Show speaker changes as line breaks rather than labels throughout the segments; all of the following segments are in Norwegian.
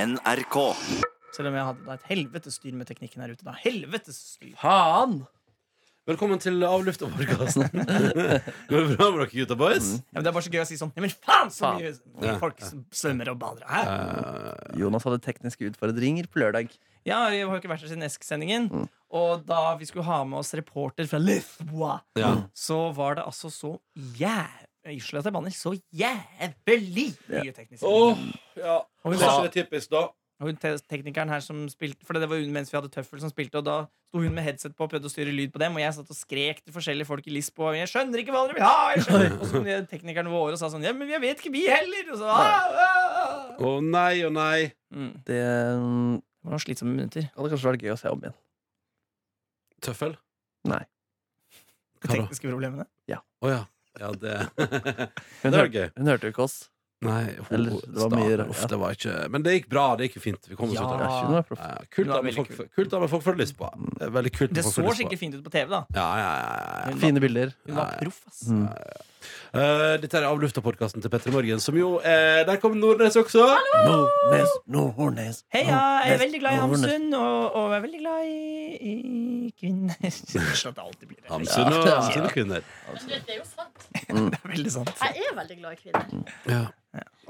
NRK.
Selv om jeg hadde da et helvetes styr med teknikken her ute. da Helvetes styr
Faen! Velkommen til Avluft og podkasten. Går det bra med dere, gutta boys?
ja, men Det er bare så gøy å si sånn. Ja, men faen, så
Faen.
mye folk som svømmer og bader her.
Jonas hadde tekniske utfordringer på lørdag.
Ja, vi har jo ikke vært her siden Esk-sendingen. Og da vi skulle ha med oss reporter fra Lisboa,
Ja.
så var det altså så jæv... Unnskyld at jeg banner. Så jævlig mye teknisk.
Åh, ja.
Og hun,
Det er ikke det typisk, da.
og hun te- teknikeren her som spilte For det var hun mens vi hadde tøffel som spilte, og da sto hun med headset på og prøvde å styre lyd på dem, og jeg satt og skrek til forskjellige folk i Lisboa. Jeg skjønner ikke hva dere vil ha! Jeg skjønner. Og så kom de teknikerne våre og sa sånn Ja, men jeg vet ikke, vi heller! Og så ah, ah, ah.
Å nei, å nei.
Mm.
Det mm,
Det var noen slitsomme minutter.
hadde kanskje vært gøy å se om igjen.
Tøffel?
Nei.
De
Hva da?
tekniske problemene.
Å ja. Ja, det
Hun,
Det var
hør-
gøy.
hun hørte jo ikke oss.
Nei, ho,
Eller, det var mye
stadig.
rart,
Uff,
ja.
det var ikke Men det gikk bra. Det gikk jo fint. Vi kom oss
Ja.
ut av
Det
det.
er ikke noe proff.
Ja, Kult
Hun var
da med
veldig
folk, kult da med folk fra Lisboa. Det er Veldig kult med
Det
folk
så
fra Lisboa.
skikkelig fint ut på TV, da.
Ja, ja, ja, ja.
Hun
Fine bilder.
Hun var
Ah. Nei.
proff, ass.
Mm.
Eh, dette er av lufta-podkasten til Petter Morgen, som jo eh, Der kom Nordnes også!
Mm. Nordnes, Nordnes
Hei, ja, jeg er
Nordnes,
veldig glad i
Nordnes.
Hamsun, og, og jeg er veldig glad i, i kvinner. Unnskyld at det alltid blir det.
Hamsun og
Ja.
Hamsun og kvinner.
Men du vet, det er jo sant.
Det er veldig sant.
Jeg er veldig glad i kvinner.
Ja.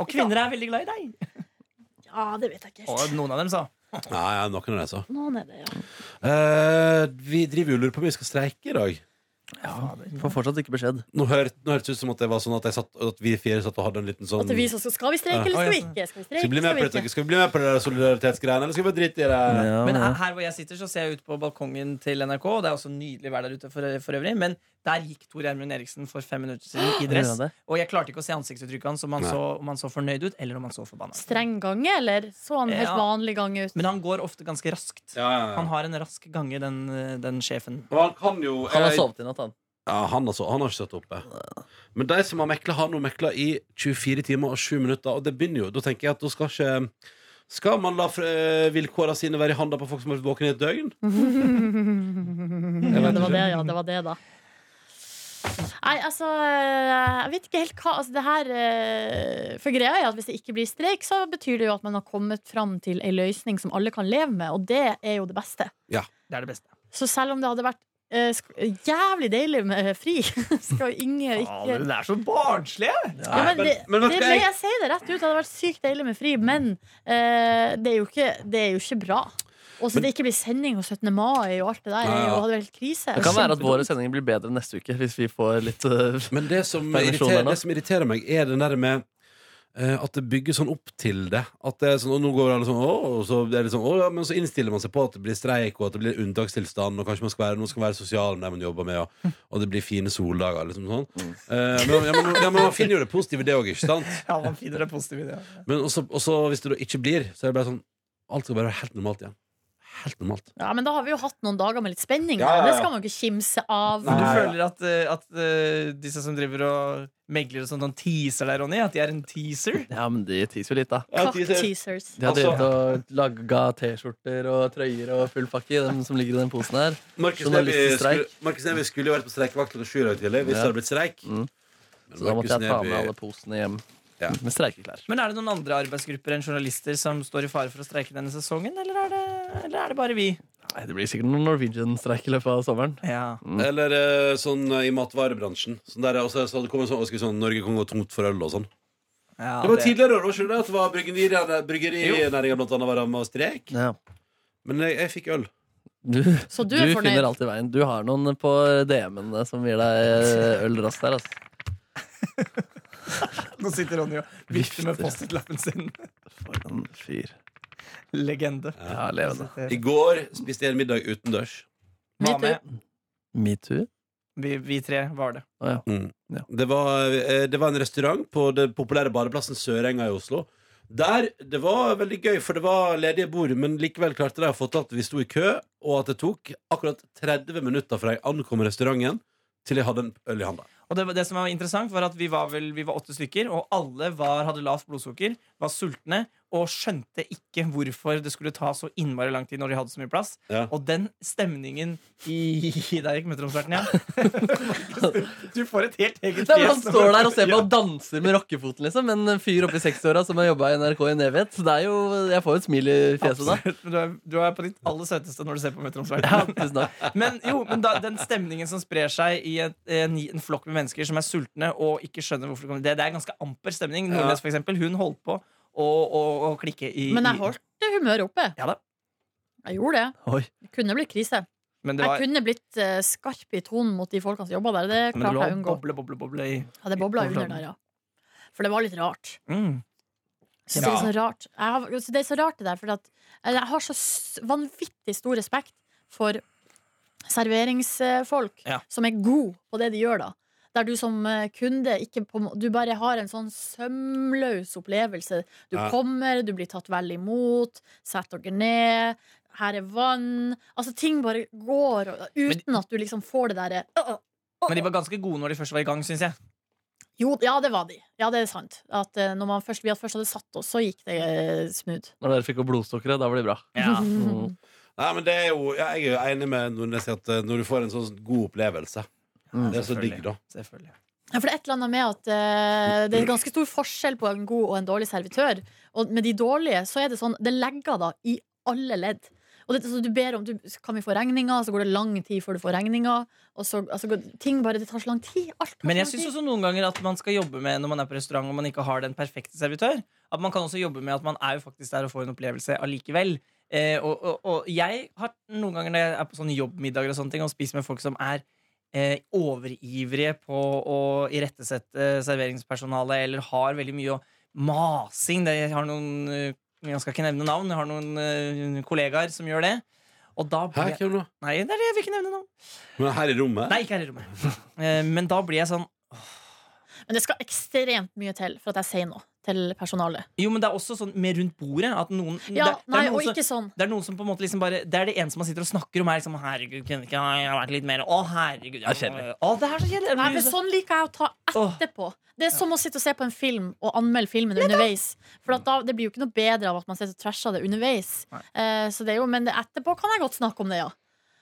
Og kvinner er veldig glad i deg.
Ja, det vet jeg ikke helt.
Og noen av dem sa.
ja, ja, noen av dem, altså. så.
Noen er det, ja.
Eh, vi driver jo og lurer på om vi skal streike i dag.
Får fortsatt ikke beskjed.
Nå hørt- nå hørtes det ut som at det var sånn at, jeg satt, at vi fire satt og hadde en liten sånn
At det er vi som skal Skal vi streike, eller skal vi ikke? Skal vi streike,
Skal vi bli med på
skal vi
dette?
ikke?
Skal vi bli med på det der solidaritetsgreiene, eller skal vi bare drite i det?
Ja,
Men
ja.
her, her hvor jeg sitter, så ser jeg ut på balkongen til NRK. Og det er også nydelig vær der ute for, for øvrig. Men der gikk Tor Gjermund Eriksen for fem minutter siden i
Gjorde
dress.
han det?
Og jeg klarte ikke å se ansiktsuttrykket hans, om han
Nei.
så, om han så fornøyd ut, eller om han så forbanna. ut.
Streng gange, eller så han helt
Ja.
vanlig gange ut?
Men han går ofte ganske raskt.
Ja, ja, ja.
Han har en rask gange, den, den sjefen.
Og han kan jo
Han har
jeg-
sovet i natt, han.
Ja, han, altså, han har ikke stått oppe. Men de som har mekla, har nå mekla i 24 timer og 7 minutter. Og det begynner jo, da tenker jeg at da skal ikke Skal man la eh, vilkåra sine være i handa på folk som har vært våkne i et døgn?
Ja, det var det, ja. Det var det, da. Nei, altså eh, Jeg vet ikke helt hva altså, det her, eh, For greia er at hvis det ikke blir streik, så betyr det jo at man har kommet fram til ei løsning som alle kan leve med, og det er jo det beste.
Det er det beste.
Så selv om det hadde vært eh, sk- jævlig deilig med fri, skal jo Inge ikke
Faen, det er så barnslige!
ja, men det,
men- men vet du hva,
det, men
jeg-
jeg sier det rett ut. Det hadde vært sykt deilig med fri, men eh, det, er jo ikke, det er jo ikke bra. Og så det ikke blir sending og 17. mai og alt det der,
Nei,
er
ja.
jo- hadde vært krise.
Det kan være at våre sendinger blir bedre neste uke hvis vi får litt uh,
Men det som,
Permisjon
irriterer,
ennå.
det som irriterer meg, er den der med eh, at det bygger sånn opp til det. At det er sånn, og nå går alle sånn, «Åh», og så er det sånn «Åh, ja, Men så innstiller man seg på at det blir streik, og at det blir unntakstilstand, og kanskje man skal være, noen skal være sosial med det man jobber med, og, og det blir fine soldager, liksom sånn. Eh, men, ja, men, ja, men man finner jo det positive, det òg, ikke sant?
Ja, man finner det positive i det.
Men også, også hvis det da ikke blir, så er det bare sånn Alt skal bare være helt normalt igjen. Helt normalt.
Ja, men da har vi jo hatt noen dager med litt spenning.
Ja, ja, ja.
Det skal man jo ikke kimse av.
Men du
Nei, ja.
føler at, eh, at eh, disse som driver og megler og sånt, sånn teaser deg, Ronny? At de er en teaser?
Ja, men de teaser jo litt, da.
Kakteasers.
De har
Altså-
drevet og laga T-skjorter og trøyer og full pakke, dem som ligger i den posen her.
Markus Neby
Journalistisk streik.
skulle, Markus Neby skulle jo vært på streikevakt klokka sju i dag tidlig hvis
Ja.
det hadde blitt streik.
Mm.
Men
Så da måtte
Markus
jeg ta
Neby-
med alle posene hjem
Ja.
med streikeklær.
Men er det noen andre arbeidsgrupper enn journalister som står i fare for å streike denne sesongen, eller er det, eller er det bare vi?
Nei, Det blir sikkert noen Norwegian-streik i løpet av sommeren.
Ja.
Eller eh, sånn eh, i matvarebransjen. Sånn der, og så så det kom en sånn, og skulle sånn Norge kan gå tomt for øl og sånn.
ja,
det var
det-
tidligere år, var ikke det? At det var bryggeriene- bryggerinæringen blant annet var rammet av streik.
Ja.
Men jeg, jeg fikk øl.
Du,
Så du
du
er fornøyd?
finner alltid veien. Du har noen på DM-ene som gir deg øl raskt der. Altså.
Nå sitter Ronny og vifter med Post-It-lappen sin.
For en fyr.
Legende.
Ja, levende.
I går spiste jeg en middag utendørs.
Var med.
Metoo?
Vi, vi tre var det.
Å ja. Ja.
Mm. Det, var, eh, det var en restaurant på den populære badeplassen Sørenga i Oslo. Der, Det var veldig gøy, for det var ledige bord, men likevel klarte de å få til at vi sto i kø, og at det tok akkurat 30 minutter fra jeg ankom restauranten, til jeg hadde en øl i handa.
Og det, var- det som var interessant var at Vi var vel, vi var åtte stykker, og alle var, hadde lavt blodsukker, var sultne og skjønte ikke hvorfor det skulle ta så innmari lang tid når de hadde så mye plass.
Ja.
Og den stemningen i Der gikk metromsverten, ja. du får et helt eget
Nei, men han
når
står
man-
der og ser på
Ja.
og danser med rockefoten, liksom. En fyr oppe i 60-åra som har jobba i NRK i en evighet. Så det er jo, jeg får jo et smil i fjeset da.
Absolutt, men du, er, du er på ditt aller søteste når du ser på metromsverten.
Ja, tusen takk.
Men jo, men da, den stemningen som sprer seg i en, en, en flokk med mennesker som er sultne og ikke skjønner hvorfor det kommer Det, det er ganske amper stemning. Nordnes, for eksempel, hun holdt på å, å, å klikke i
Men
i-
jeg holdt humøret oppe.
Ja da.
Jeg gjorde det.
Oi.
Det kunne blitt krise.
Men det var,
Jeg kunne blitt eh, skarp i tonen mot de folkene som jobba der. Det
men det
klarte
lå
jeg å unngå.
boble, boble, boble i
Ja, det bobla under
overflaten.
der, ja. For det var litt rart.
mm.
Så det, er
Ja.
så rart. Jeg har, så det er så rart det der, for at jeg har så s- vanvittig stor respekt for serveringsfolk
Ja.
som er gode på det de gjør, da. Der du som eh, kunde ikke på, en må- Du bare har en sånn sømløs opplevelse. Du
Ja.
kommer, du blir tatt vel imot, sett dere ned, her er vann Altså, ting bare går, og- uten at du liksom får det derre «Åh, åh, åh,
Men de var ganske gode når de først var i gang, syns jeg.
jo, ja, det var de. Ja, det er sant. At eh, når man først, vi hadde først hadde satt oss, så gikk det eh, smooth.
Når dere fikk opp blodstokkeret, da var det bra.
Ja.
Mm.
Nei, men det er jo, ja, jeg er jo enig med Nordnes i at eh, når du får en sånn god opplevelse
Mm.
Det er så digg,
Selvfølgelig.
da.
Selvfølgelig.
Ja, for det er et eller annet med at eh, det er ganske stor forskjell på en god og en dårlig servitør. Og med de dårlige så er det sånn Det legger da i alle ledd. Og det, så du ber om du, Kan vi få regninga? Så går det lang tid før du får regninga. Og så altså, går- ting bare Det tar så lang tid. Alt tar
Men jeg
så lang
syns
tid.
også noen ganger at man skal jobbe med når man er på restaurant og man ikke har den perfekte servitør. At man kan også jobbe med at man er jo faktisk der og får en opplevelse allikevel. Eh, og, og, og jeg har noen ganger når jeg er på sånne jobbmiddager og sånne ting og spiser med folk som er eh, overivrige på å irettesette serveringspersonalet eller har veldig mye å- masing. Det- Jeg har noen eh, Jeg skal ikke nevne navn, jeg har noen eh, kollegaer som gjør det. Og da
Hæ,
blir jeg,
hvem da?
Nei, det er det jeg vil ikke nevne navn.
Men her i rommet?
Nei, ikke her i rommet. Eh, Men da blir jeg sånn
Men det skal ekstremt mye til for at jeg sier noe til personalet.
Jo, men det er også sånn med rundt bordet at noen
Ja,
Mm. det,
nei,
det, er
og
noen som,
ikke sånn.
det er noen som på en måte liksom bare Det er det ene som man sitter og snakker om, er liksom Herregud, kunne ikke jeg vært litt mer Å, herregud.
Det er kjedelig.
Å, det er så kjedelig.
Nei, men sånn liker jeg å ta
Åh.
etterpå. Det er som å sitte og se på en film og anmelde filmen underveis. For at da, det blir jo ikke noe bedre av at man ser så trasha det underveis.
Nei.
Eh, så det er jo, men det, etterpå kan jeg godt snakke om det, ja.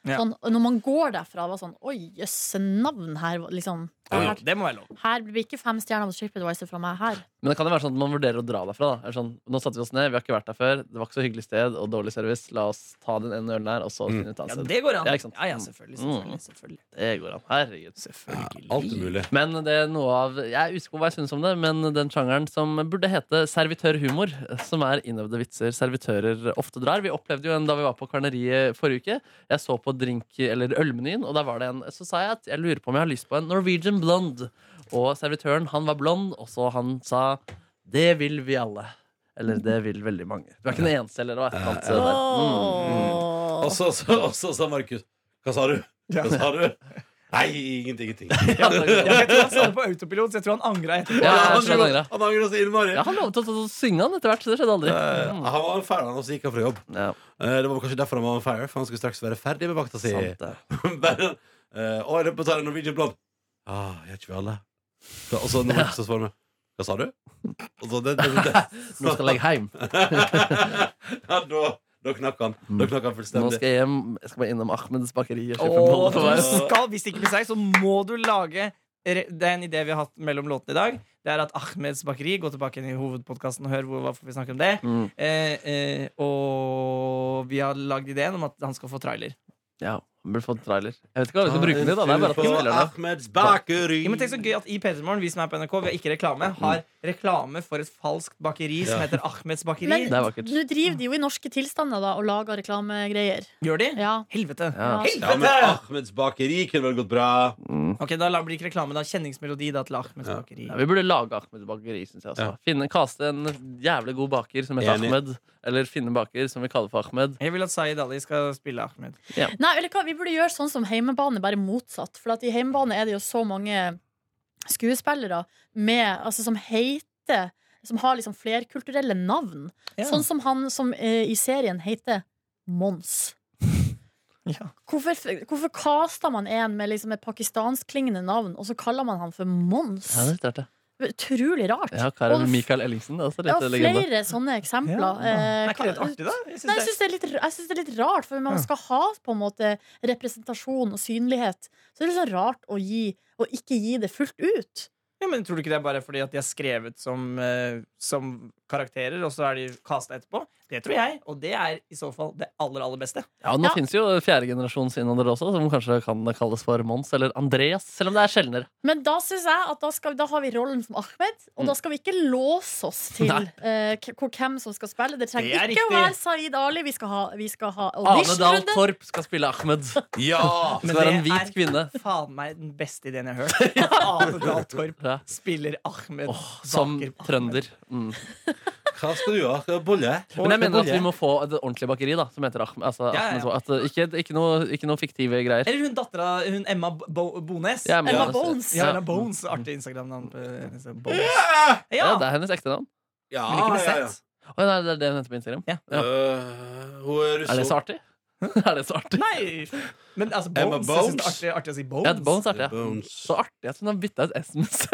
Ja.
Sånn, og når man går derfra og var sånn Oi, jøsse navn her. var- Liksom.
Ja.
Her,
Det må være lov.
her blir ikke fem stjerner på TripAdvisor fra meg her.
Men det kan jo være sånn at man vurderer å dra derfra. Da. Er Sånn, nå satte vi oss ned, vi har ikke vært der før. Det var ikke så hyggelig sted og dårlig service. La oss ta den ene ølen her, og så
Mm.
finne et
Ja,
annet sted.
det går an.
Ja,
Ja,
ikke sant? Mm.
ja, selvfølgelig. Selvfølgelig. selvfølgelig.
Det går an. Herregud.
selvfølgelig.
Alt er mulig.
Men det er noe av Jeg er usikker på hva jeg synes om det, men den sjangeren som burde hete servitørhumor, som er innøvde vitser servitører ofte drar. Vi opplevde jo en da vi var på Kvarneriet forrige uke. Jeg så på drink- eller ølmenyen, og der var det en Så sa jeg at jeg lurer på om jeg har lyst på en Norwegian blonde. Og servitøren, han var blond, og så han sa Det vil vi alle. Eller det vil veldig mange. Du er ikke den eneste, eller hva? Et eller annet der.
Mm,
Og så så- og så sa Markus Hva sa du? Hva sa du? Nei, ingenting. ingenting.
Ja,
Ja,
takk.
jeg tror han sa det på autopilot, så jeg tror han angra etterpå.
Ja,
han
jeg skjønner
angrer-
det.
han angrer så innmari.
ja, han lovet oss å synge han etter hvert, så det skjedde aldri. Mm.
Eh, Han var ferdig, han, og så gikk han fra jobb.
Ja,
Eh, Det var kanskje derfor han var on fire, for han skulle straks være ferdig med vakta si.
sant det.
Bare, eh, Å, jeg representerer Norwegian Blond. Ja, gjør ikke vi alle? Da- Og så når Markus så svarer han, Hva sa du? Og så det, det, det.
Nå skal jeg hjem.
ja, da, da knakk han. Da knakk han
Mm. Nå
fullstendig.
skal jeg hjem. Jeg skal bare innom Ahmeds bakeri og kjøpe en bolle
Og
på
du
vei.
skal, hvis det ikke blir seig, så må du lage re- Det er en idé vi har hatt mellom låtene i dag. Det er at Ahmeds Bakeri Gå tilbake inn i hovedpodkasten og hør hvor, hvorfor vi snakker om det.
Mm,
Eh, eh, og vi har lagd ideen om at han skal få trailer.
ja, han burde fått trailer. Jeg vet ikke hva vi skal bruke den i. da Det er bare at vi spiller den.
Ahmeds bakeri.
Ja, men tenk så gøy at I P3morgen, vi som er på NRK, vi har ikke reklame,
Mm.
har reklame for et falskt bakeri som
Ja.
heter Ahmeds Bakeri.
Men
Det er vakkert.
nå driver de jo i norske tilstander da, og lager reklamegreier.
Gjør de?
Ja.
Helvete.
Ja. Ah.
Ja, men Ahmeds bakeri kunne vel gått bra.
Mm.
Ok, Da la- blir det ikke reklame. da Kjenningsmelodi da til Ahmeds
Ja.
Bakeri.
Ja, vi burde lage Ahmed bakeri, syns jeg. Også.
Ja.
Finne, Kaste en jævlig god baker som heter
Enig.
Ahmed. Eller finne en baker som vi kaller for Ahmed.
Jeg vil at Zaid Ali skal spille Ahmed.
Nei, eller hva, vi burde gjøre sånn som heimebane, bare motsatt. For at i heimebane er det jo så mange skuespillere med, altså, som heter Som har liksom flerkulturelle navn.
Ja.
Sånn som han som eh, i serien heter Mons.
Ja.
Hvorfor, hvorfor kaster man en med liksom et pakistanskklingende navn, og så kaller man han for Mons?
Ja, det er litt rart, det.
Utrolig rart.
Ja, Karen
Og-
Mikael Ellingsen. Altså,
Ja,
litt legende.
flere sånne eksempler.
Ja, ja.
Eh,
Men Er ikke det litt artig, da? Jeg synes
Nei, jeg
det-
syns det, er litt- jeg synes det er litt rart, for man
Ja.
skal ha på en måte representasjon og synlighet. Så det er litt sånn rart å gi, og ikke gi det fullt ut.
Ja, men Tror du ikke det er bare fordi at de er skrevet som, eh, som karakterer, og så er de casta etterpå? Det tror jeg, og det er i så fall det aller, aller beste.
Ja, og nå
Ja.
finnes jo fjerdegenerasjons innvandrere også, som kanskje kan kalles for Mons eller Andreas, selv om det er sjeldnere.
Men da synes jeg at da, skal, da har vi rollen som Ahmed, og
Mm.
da skal vi ikke låse oss til
Nei.
eh, k- hvor- hvem som skal spille. Det trenger
Det er
ikke å
riktig.
være Saeed Ali. Vi skal ha, vi skal ha
Ane Dahl
auditionrunde.
Torp skal spille Ahmed.
Ja!
Skal være en hvit
er
kvinne.
faen meg den beste ideen jeg har hørt. At Ane Dahl Torp
Ja.
spiller Ahmed
Åh, som
baker Ahmed.
trønder. Mm.
Hva skal du ha? Skal du ha bolle?
Men jeg mener at vi må få et ordentlig bakeri da, som heter Ahmed. Altså,
Ja, ja, ja.
Ahmed Swa- at, uh, ikke, ikke, noe, ikke noe fiktive greier.
Eller hun dattera, hun Emma Bo Bones.
Jeg er med
Emma
på det.
Bones.
Ja,
Ja.
Emma Bones. Artig Instagram-navn. på henne, Bones.
Ja,
Ja,
det er hennes ekte navn.
Ja,
men ikke med
ja, ja.
sett.
Å, nei, det er det hun heter på Instagram.
Ja.
Ja.
Øh, hun er
Er det
russo.
så artig? er det så artig?
Nei! Men altså,
Emma
Bones. Jeg synes det er
Bones.
artig, artig å si Bones.
Ja, det er Bones er artig, ja.
Bones.
Så artig at hun har bytta ut S med Z.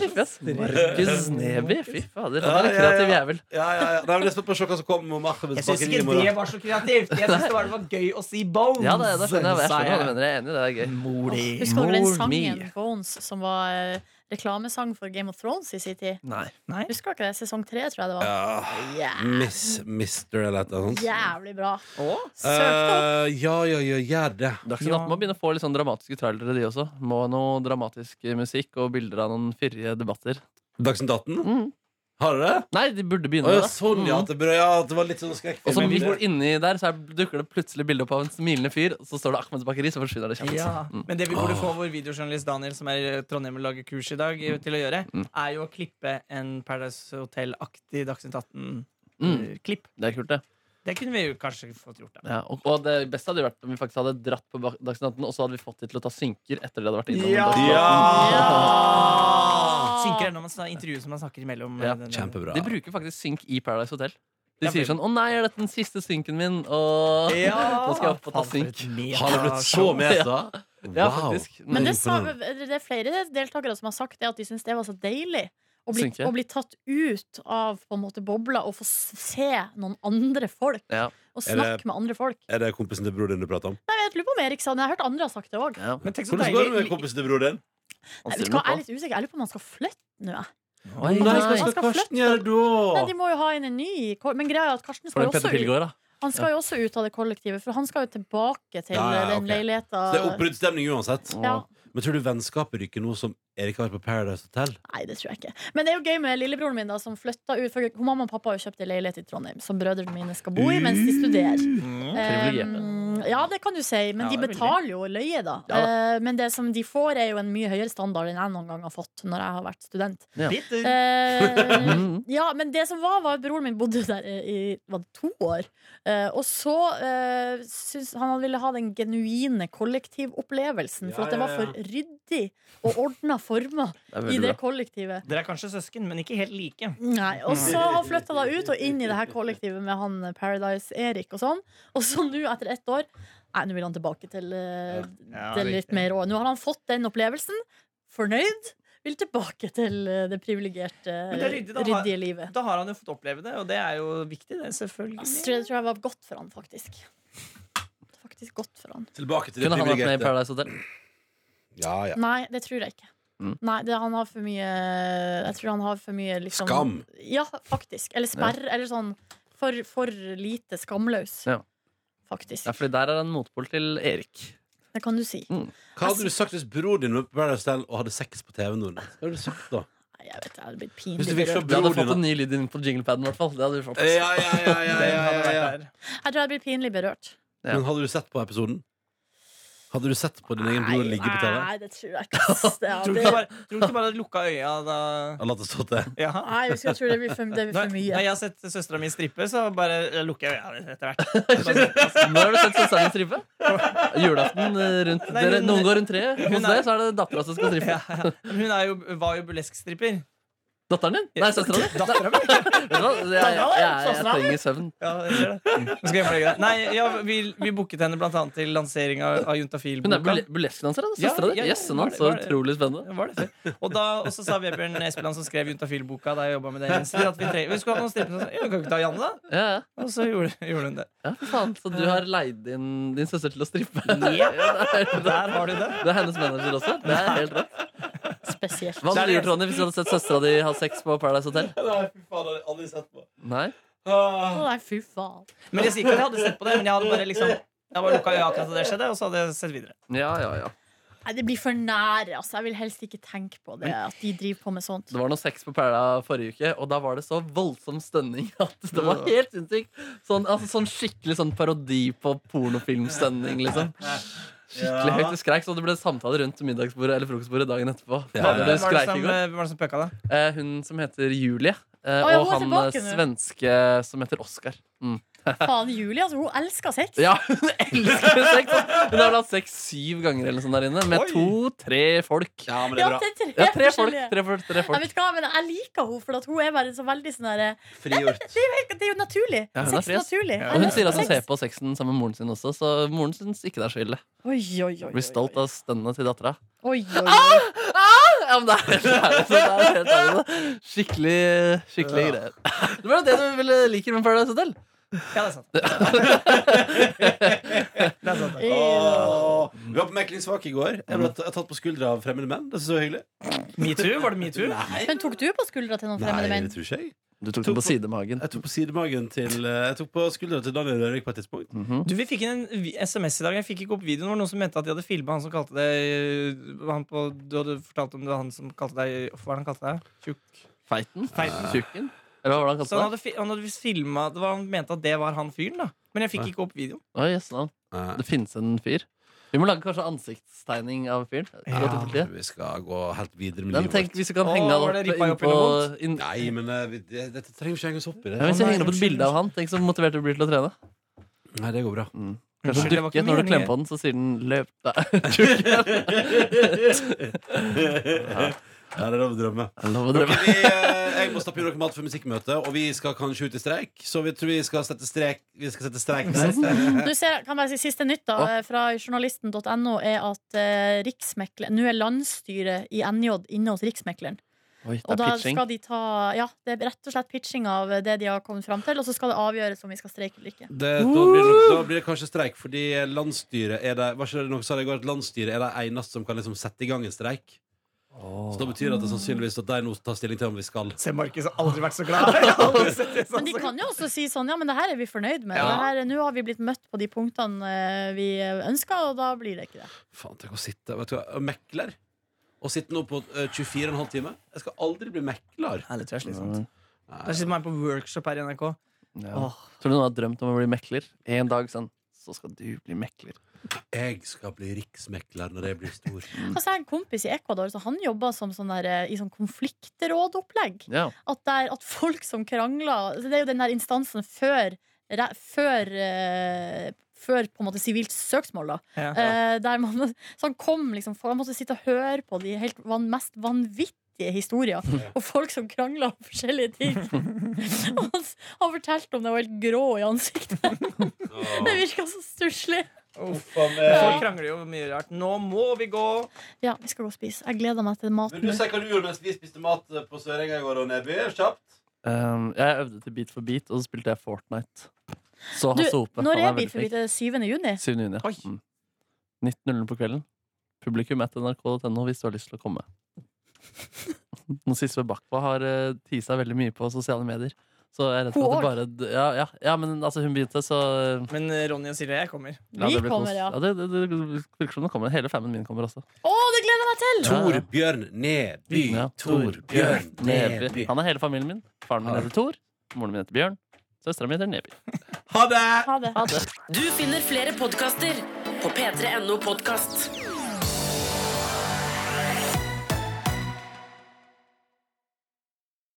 Markus Neby. Fy fader, han er en
Ja, ja, ja.
kreativ jævel.
Ja, ja, ja. Nei, men jeg er spent på å se hva som kommer om Ahmed
Jeg syns
bakeri i
ikke det
morgen.
var så kreativt. Jeg syns det var, det var gøy å si Bones.
Ja, det, det skjønner jeg. Jeg
sa
skjønner hva du mener. Jeg er enig, det er gøy.
Modig.
Husker dere den
More
sangen
me.
Bones som var eh, reklamesang for Game of Thrones i sin tid?
Nei.
Nei.
Husker dere det? Sesong tre, tror jeg det var.
Ja.
Jæ-
Miss Mister eller et eller annet sånt.
Jævlig bra.
Å?
Søk det opp.
Eh, ja, ja, ja, gjør det.
Dagsnytt
Ja.
18 må begynne å få litt sånn dramatiske trailere, de også. Må ha noe dramatisk musikk og bilder av noen fyrige debatter.
Dagsnytt 18?
Mm.
Har dere det?
Nei, de burde begynne
Å
med
ja,
det.
sånn, ja. At det, bør- ja, at det var litt sånn skrekkfilm.
Mm. Og så
Men-
midt inni der så er, dukker det plutselig bilde opp av en smilende fyr, og så står det Ahmeds bakeri, så forsvinner det kjapt.
Ja.
Mm.
Men det vi burde
Åh.
få vår videojournalist Daniel, som er i Trondheim og lager kurs i dag, eh, til å gjøre,
Mm.
er jo å klippe en Paradise Hotel-aktig Dagsnytt
Mm.
18-klipp.
Det er kult, det.
Det kunne vi jo kanskje fått gjort. Da.
Ja, og, og det beste hadde jo vært om vi faktisk hadde dratt på bak- Dagsnytt 18, og så hadde vi fått de til å ta synker etter det hadde vært innom.
Ja!
Dagsnytt 18.
Ja!
Synker er når man sna- intervjuer som man snakker imellom.
Ja.
eh, den-
Kjempebra.
De bruker faktisk synk i Paradise Hotel. De
Ja,
sier
vel.
sånn 'Å nei, er dette den siste synken min?' Og
Ja!
nå skal jeg opp og ta
Faen, for
synk.
et meta-
Har det blitt så meta?
Ja, faktisk.
Men det, sa,
Imponerende.
det er flere deltakere som har sagt det at de syns det var så deilig. Å bli,
Synke.
å bli tatt ut av på en måte bobla og få se noen andre folk.
Ja.
Og
Er
snakke
det-
med andre folk.
Er det kompisen til broren din du prater om?
Nei, jeg lurer på om Erik sa det. Jeg har hørt andre har sagt det òg.
Ja,
Men tenk så
Hvordan går det med
deilig.
kompisen til broren din?
han
Jeg
sier
vet ikke hva, jeg er
noe på.
litt usikker. Jeg lurer på om han skal flytte nå. jeg.
Oi,
Nei, hva
nei.
Han
skal
skal
Karsten
flytte.
gjøre
Nei,
da?
de må jo ha inn en ny i kor- Men greia er at Karsten
For
skal,
den
jo også
Petter
ut,
Pilgaard, da.
han skal jo også ut av det kollektivet. For han skal jo tilbake til
Ja, ja,
eh, den
ok.
leiligheta.
Det er oppbruddsstemning uansett.
Ja.
Men tror du vennskapet ryker nå som Erik har vært på Paradise Hotel?
Nei, det tror jeg ikke. Men det er jo gøy med lillebroren min, da, som flytta ut. For hun- mamma og pappa har jo kjøpt en leilighet i Trondheim som brødrene mine skal bo i mens de studerer.
Mm.
Privilegiert.
Um, ja, det kan du si, men
Ja,
de
det er
betaler jo løye, da.
Ja
Eh, men det som de får, er jo en mye høyere standard enn jeg noen gang har fått når jeg har vært student.
Ja.
Bitter.
Eh,
Mm.
ja, men det som var, var at broren min bodde der eh, i var det to år. Eh, og så uh, syntes han han ville ha den genuine kollektivopplevelsen, for
Ja,
at det
ja,
var
ja.
for ryddig og ordna former
Det er
i
veldig
det
bra.
kollektivet.
Dere er kanskje søsken, men ikke helt like.
Nei, Og så flytta da ut og inn i det her kollektivet med han Paradise-Erik og sånn. Og så nå, etter ett år Nei, nå vil han tilbake til eh,
Ja,
det litt
riktig.
mer rå. Nå har han fått den opplevelsen. Fornøyd. Vil tilbake til eh, det privilegerte,
Men det er ryddig, da.
ryddige livet.
Da har han jo fått oppleve det, og det er jo viktig, det,
Jeg
selvfølgelig.
tror, det tror jeg var godt for han, faktisk. Faktisk godt for han.
Tilbake til det
Kunne han vært med i
privilegerte.
Paradise Hotel?
Ja, ja.
Nei, det tror jeg ikke.
Mm.
Nei, det, han har for mye Jeg tror han har for mye liksom,
Skam.
Ja, faktisk. Eller sperr. Eller sånn for, for lite skamløs.
Ja.
Faktisk.
Ja, fordi der er han motpol til Erik.
Det kan du si.
Hva hadde du sagt hvis broren din var på Paradise Hotel og hadde sex på TV nå? Hva hadde du sagt da?
Nei, jeg vet det, jeg hadde blitt
Hvis
pinlig
du fikk se
berørt.
Vi hadde
broren
fått en
din da?
ny lyd inn på jinglepaden, i hvert fall. Det hadde vi fått.
Ja, ja, ja, ja, ja,
Den
ja,
hadde vært
ja, ja.
der.
Jeg tror jeg hadde blitt pinlig berørt.
Ja.
Men hadde du sett på episoden? Hadde du sett på din egen bror ligge på TV?
nei, det tror jeg ikke. ass. Det
Tror du
hadde-
ikke bare, tror du ikke bare at lukka øya da
Han latt det stå til.
ja.
Nei, jeg tror det blir for, det blir
Når,
for
når
mye.
jeg har sett søstera mi strippe, så bare eh, lukker jeg øya etter hvert.
Når har du sett søsteren din stripe? Julaften eh, rundt
Nei,
dere,
hun-
Noen går rundt treet. Hos
hun er-
dere så er det dattera som skal stripe.
Ja, ja. Men Hun er jo, var jo burlesk-stripper.
Datteren din? Nei, søstera di?
Dattera mi?
Vet du hva? Jeg, jeg, jeg, jeg trenger søvn.
Ja, jeg ser det. Nå skal jeg legge deg. Nei, ja, vi, vi booket henne blant annet til lansering av, av
Hun er
Juntafil-boka.
bule- burleskdanser, da.
Ja,
Søstera
ja,
di. Jøsse
var
navn,
det-
så
var det-
utrolig spennende.
Det var det før. Og da og så sa Vebjørn Espeland, som skrev Juntafil-boka da jeg jobbet med det, i Jensel, at vi, treng, vi skulle ha noen strippere. Så sa jeg, Ja, kan vi ikke ta Janne, da?
Ja, ja.
Og så gjorde, gjorde hun det.
ja, for faen. Så du har leid inn din søster til å strippe?
Ja.
det, er, det,
Der har du det.
er hennes manager også. Det er helt rett.
Spesielt.
Hva hadde du gjort, Ronny, hvis du hadde sett søstera di ha sex på Paradise Hotel?
Nei, fy faen, det har jeg aldri sett på.
Nei?
Å, nei, fy faen.
Men jeg sier ikke at jeg hadde sett på det, men jeg hadde bare liksom jeg bare lukka øya akkurat da det skjedde, og så hadde jeg sett videre.
Ja, ja, ja.
Nei, det blir for nære. Altså. Jeg vil helst ikke tenke på det, at de driver på med sånt.
Det var noe sex på Perla forrige uke, og da var det så voldsom stønning at det var helt sinnssykt. Sånn, altså, sånn skikkelig sånn parodi på pornofilmstønning, liksom. Skikkelig høyt. Du skreik, så det ble samtale rundt middagsbordet eller frokostbordet dagen etterpå.
Ja,
Du
Hvem var det
skreik
som,
i går.
hvem var det som pøka det?
Eh, hun som heter Julie, eh,
Å, ja,
og
hun er
han eh,
tilbake nå.
svenske som heter Oskar. Mm.
Faen, Julie, altså, hun elsker sex.
Ja, hun elsker sex! altså. Hun har vel hatt sex syv ganger eller noe sånt der inne, med
Oi.
to-tre folk.
Ja, men det
Ja,
er bra.
det er tre,
Ja, tre folk.
forskjellige.
Tre folk, tre
Jeg
folk.
vet ikke hva, men jeg liker henne, for at hun er bare så veldig sånn derre
Frigjort.
Det er jo naturlig.
Ja, hun er
sex er
fres.
naturlig.
Ja.
Jeg
Og hun
elsker
sier at hun
sex.
ser på sexen sammen med moren sin også, så moren syns ikke det er så ille.
Oi, oi, oi.
Blir stolt av stønnene til dattera.
Oi, oi, oi.
Ja, men det er helt ærlig, det er helt ærlig. det. Skikkelig skikkelig
Ja.
greier. Det var jo det du ville liker med Paradise Hotel.
Ja, det er sant. Det er sant.
Åh. Vi var på Meklingsvak i går. Jeg ble t- tatt på skuldra av fremmede menn. Det synes jeg var hyggelig.
Metoo? Var det metoo?
Men tok du på skuldra til noen fremmede
Nei,
menn?
det tror ikke jeg.
Du tok den på sidemagen.
Jeg tok på sidemagen til eh, Jeg tok på skuldra til Daniel Rørvik på et tidspunkt.
Du, Vi fikk inn en vi- SMS i dag. Jeg fikk ikke opp videoen. Det var noen som mente at de hadde filma han som kalte deg øh, han på, Du hadde fortalt om det var han som kalte deg Hva var det han kalte deg? Tjukk?
Feiten?
Feiten.
Tjukken? Eller hva var det han
Så
kalte
han
det?
hadde, fi- han hadde visst filma det var, Han mente at det var han fyren, da. Men jeg fikk ikke opp videoen.
Oi, yes, navn.
Eh,
Det finnes en fyr. Vi må lage kanskje ansiktstegning av fyren. Gå til
Ja,
politiet.
vi skal gå helt videre med
Den
livet
tenk
vårt.
Hvis vi kan
Å,
henge han
var
opp
det rippa
inn
opp i
på
noe
inn, ja,
Nei, men eh, vi- det, dette trenger ikke henge oss opp i. det
Hvis vi
Å, nei,
henger opp et
unnskyld.
bilde av han, tenk så motivert du blir til å trene.
Nei, det går bra.
Kanskje
Unnskyld, det var
dukke
ikke
Når du
meningen.
klemmer på den, så sier den 'løp'. Nei,
Ja, det er lov å drømme.
jeg lover å drømme.
Vi, eh, jeg må stappe i noe mat for musikkmøtet, og vi skal kanskje ut i streik. Så vi tror vi skal sette strek Vi skal sette streik der.
Du ser, kan jeg si Siste nytt da,
Ja.
eh, fra journalisten.no er at eh, riksmekler, nå er landsstyret i NJ inne hos Riksmekleren.
Oi, det
Og
er
da
pitching.
skal de ta Ja, det er rett og slett pitching av det de har kommet fram til, og så skal det avgjøres om vi skal streike eller ikke.
Det, da, blir det, nok- da blir det kanskje streik, fordi landsstyret er det Var ikke det noe som sa det i går, at landsstyret er de eneste som kan liksom sette i gang en streik? Så da betyr det at det sannsynligvis at de nå tar stilling til om vi skal.
Se, Markus har aldri vært så glad. Jeg har aldri sett det sånn.
Men de kan jo også si sånn, ja, men det her er vi fornøyd med.
Ja.
Det her- Nå har vi blitt møtt på de punktene eh, vi ønsker, og da blir det ikke det.
Faen, tenk å sitte vet du, hva, og mekler. Og sitte nå på eh, 24,5 timer. Jeg skal aldri bli mekler.
Nei, det tror jeg er slitsomt.
Mm.
Der sitter man på workshop her i NRK.
Ja.
Åh,
Tror du noen har drømt om å bli mekler? En dag sånn, så skal du bli mekler.
Jeg skal bli riksmekler når jeg blir stor.
Altså, jeg har en kompis i Ecuador, så han jobber som sånn der, eh, i sånn konfliktrådopplegg.
Ja.
at, der, at folk som krangler så Det er jo den der instansen før re- før, eh, før på en måte sivilt søksmål, da.
ja.
Eh, der man, så han kom liksom for, Han måtte sitte og høre på de helt van, mest vanvittige historier. Og folk som krangla om forskjellige ting. Og han, s- han fortalte om det var helt grå i ansiktet. Det virka så stusslig.
Folk krangler jo om mye rart. Nå må vi gå!
Ja, vi skal gå og spise. Jeg gleder meg til
Vil
maten.
du
nå.
si hva du gjorde mens vi spiste mat eh, på Sørenga i går og Neby? Kjapt.
Um, jeg øvde til Beat for beat, og så spilte jeg Fortnite. Så
Du,
Hasse Hope.
når
han
er vi
veldig
forbi
flink.
til 7. juni?
7. juni.
Oi.
Mm. 19.00 på kvelden. Publikum at nrk.no hvis du har lyst til å komme. Nå Sisve Bakwa har eh, tisa veldig mye på sosiale medier. Så jeg er redd for at det bare d- ja, ja, ja, men altså, hun begynte, så eh,
Men eh, Ronny og Silje, jeg kommer.
ja,
Vi
det blir kos.
kommer, ja.
Ja, det, det, det virker som det kommer. Hele famen min kommer også.
Å, det gleder jeg meg til!
Torbjørn Neby.
Ja,
Torbjørn Neby.
Han er hele familien min. Faren min
Ja.
heter Tor. Moren min heter Bjørn. Søstera mi heter Neby.
Ha det!
Ha det.
Du finner flere podkaster på p3.no podkast.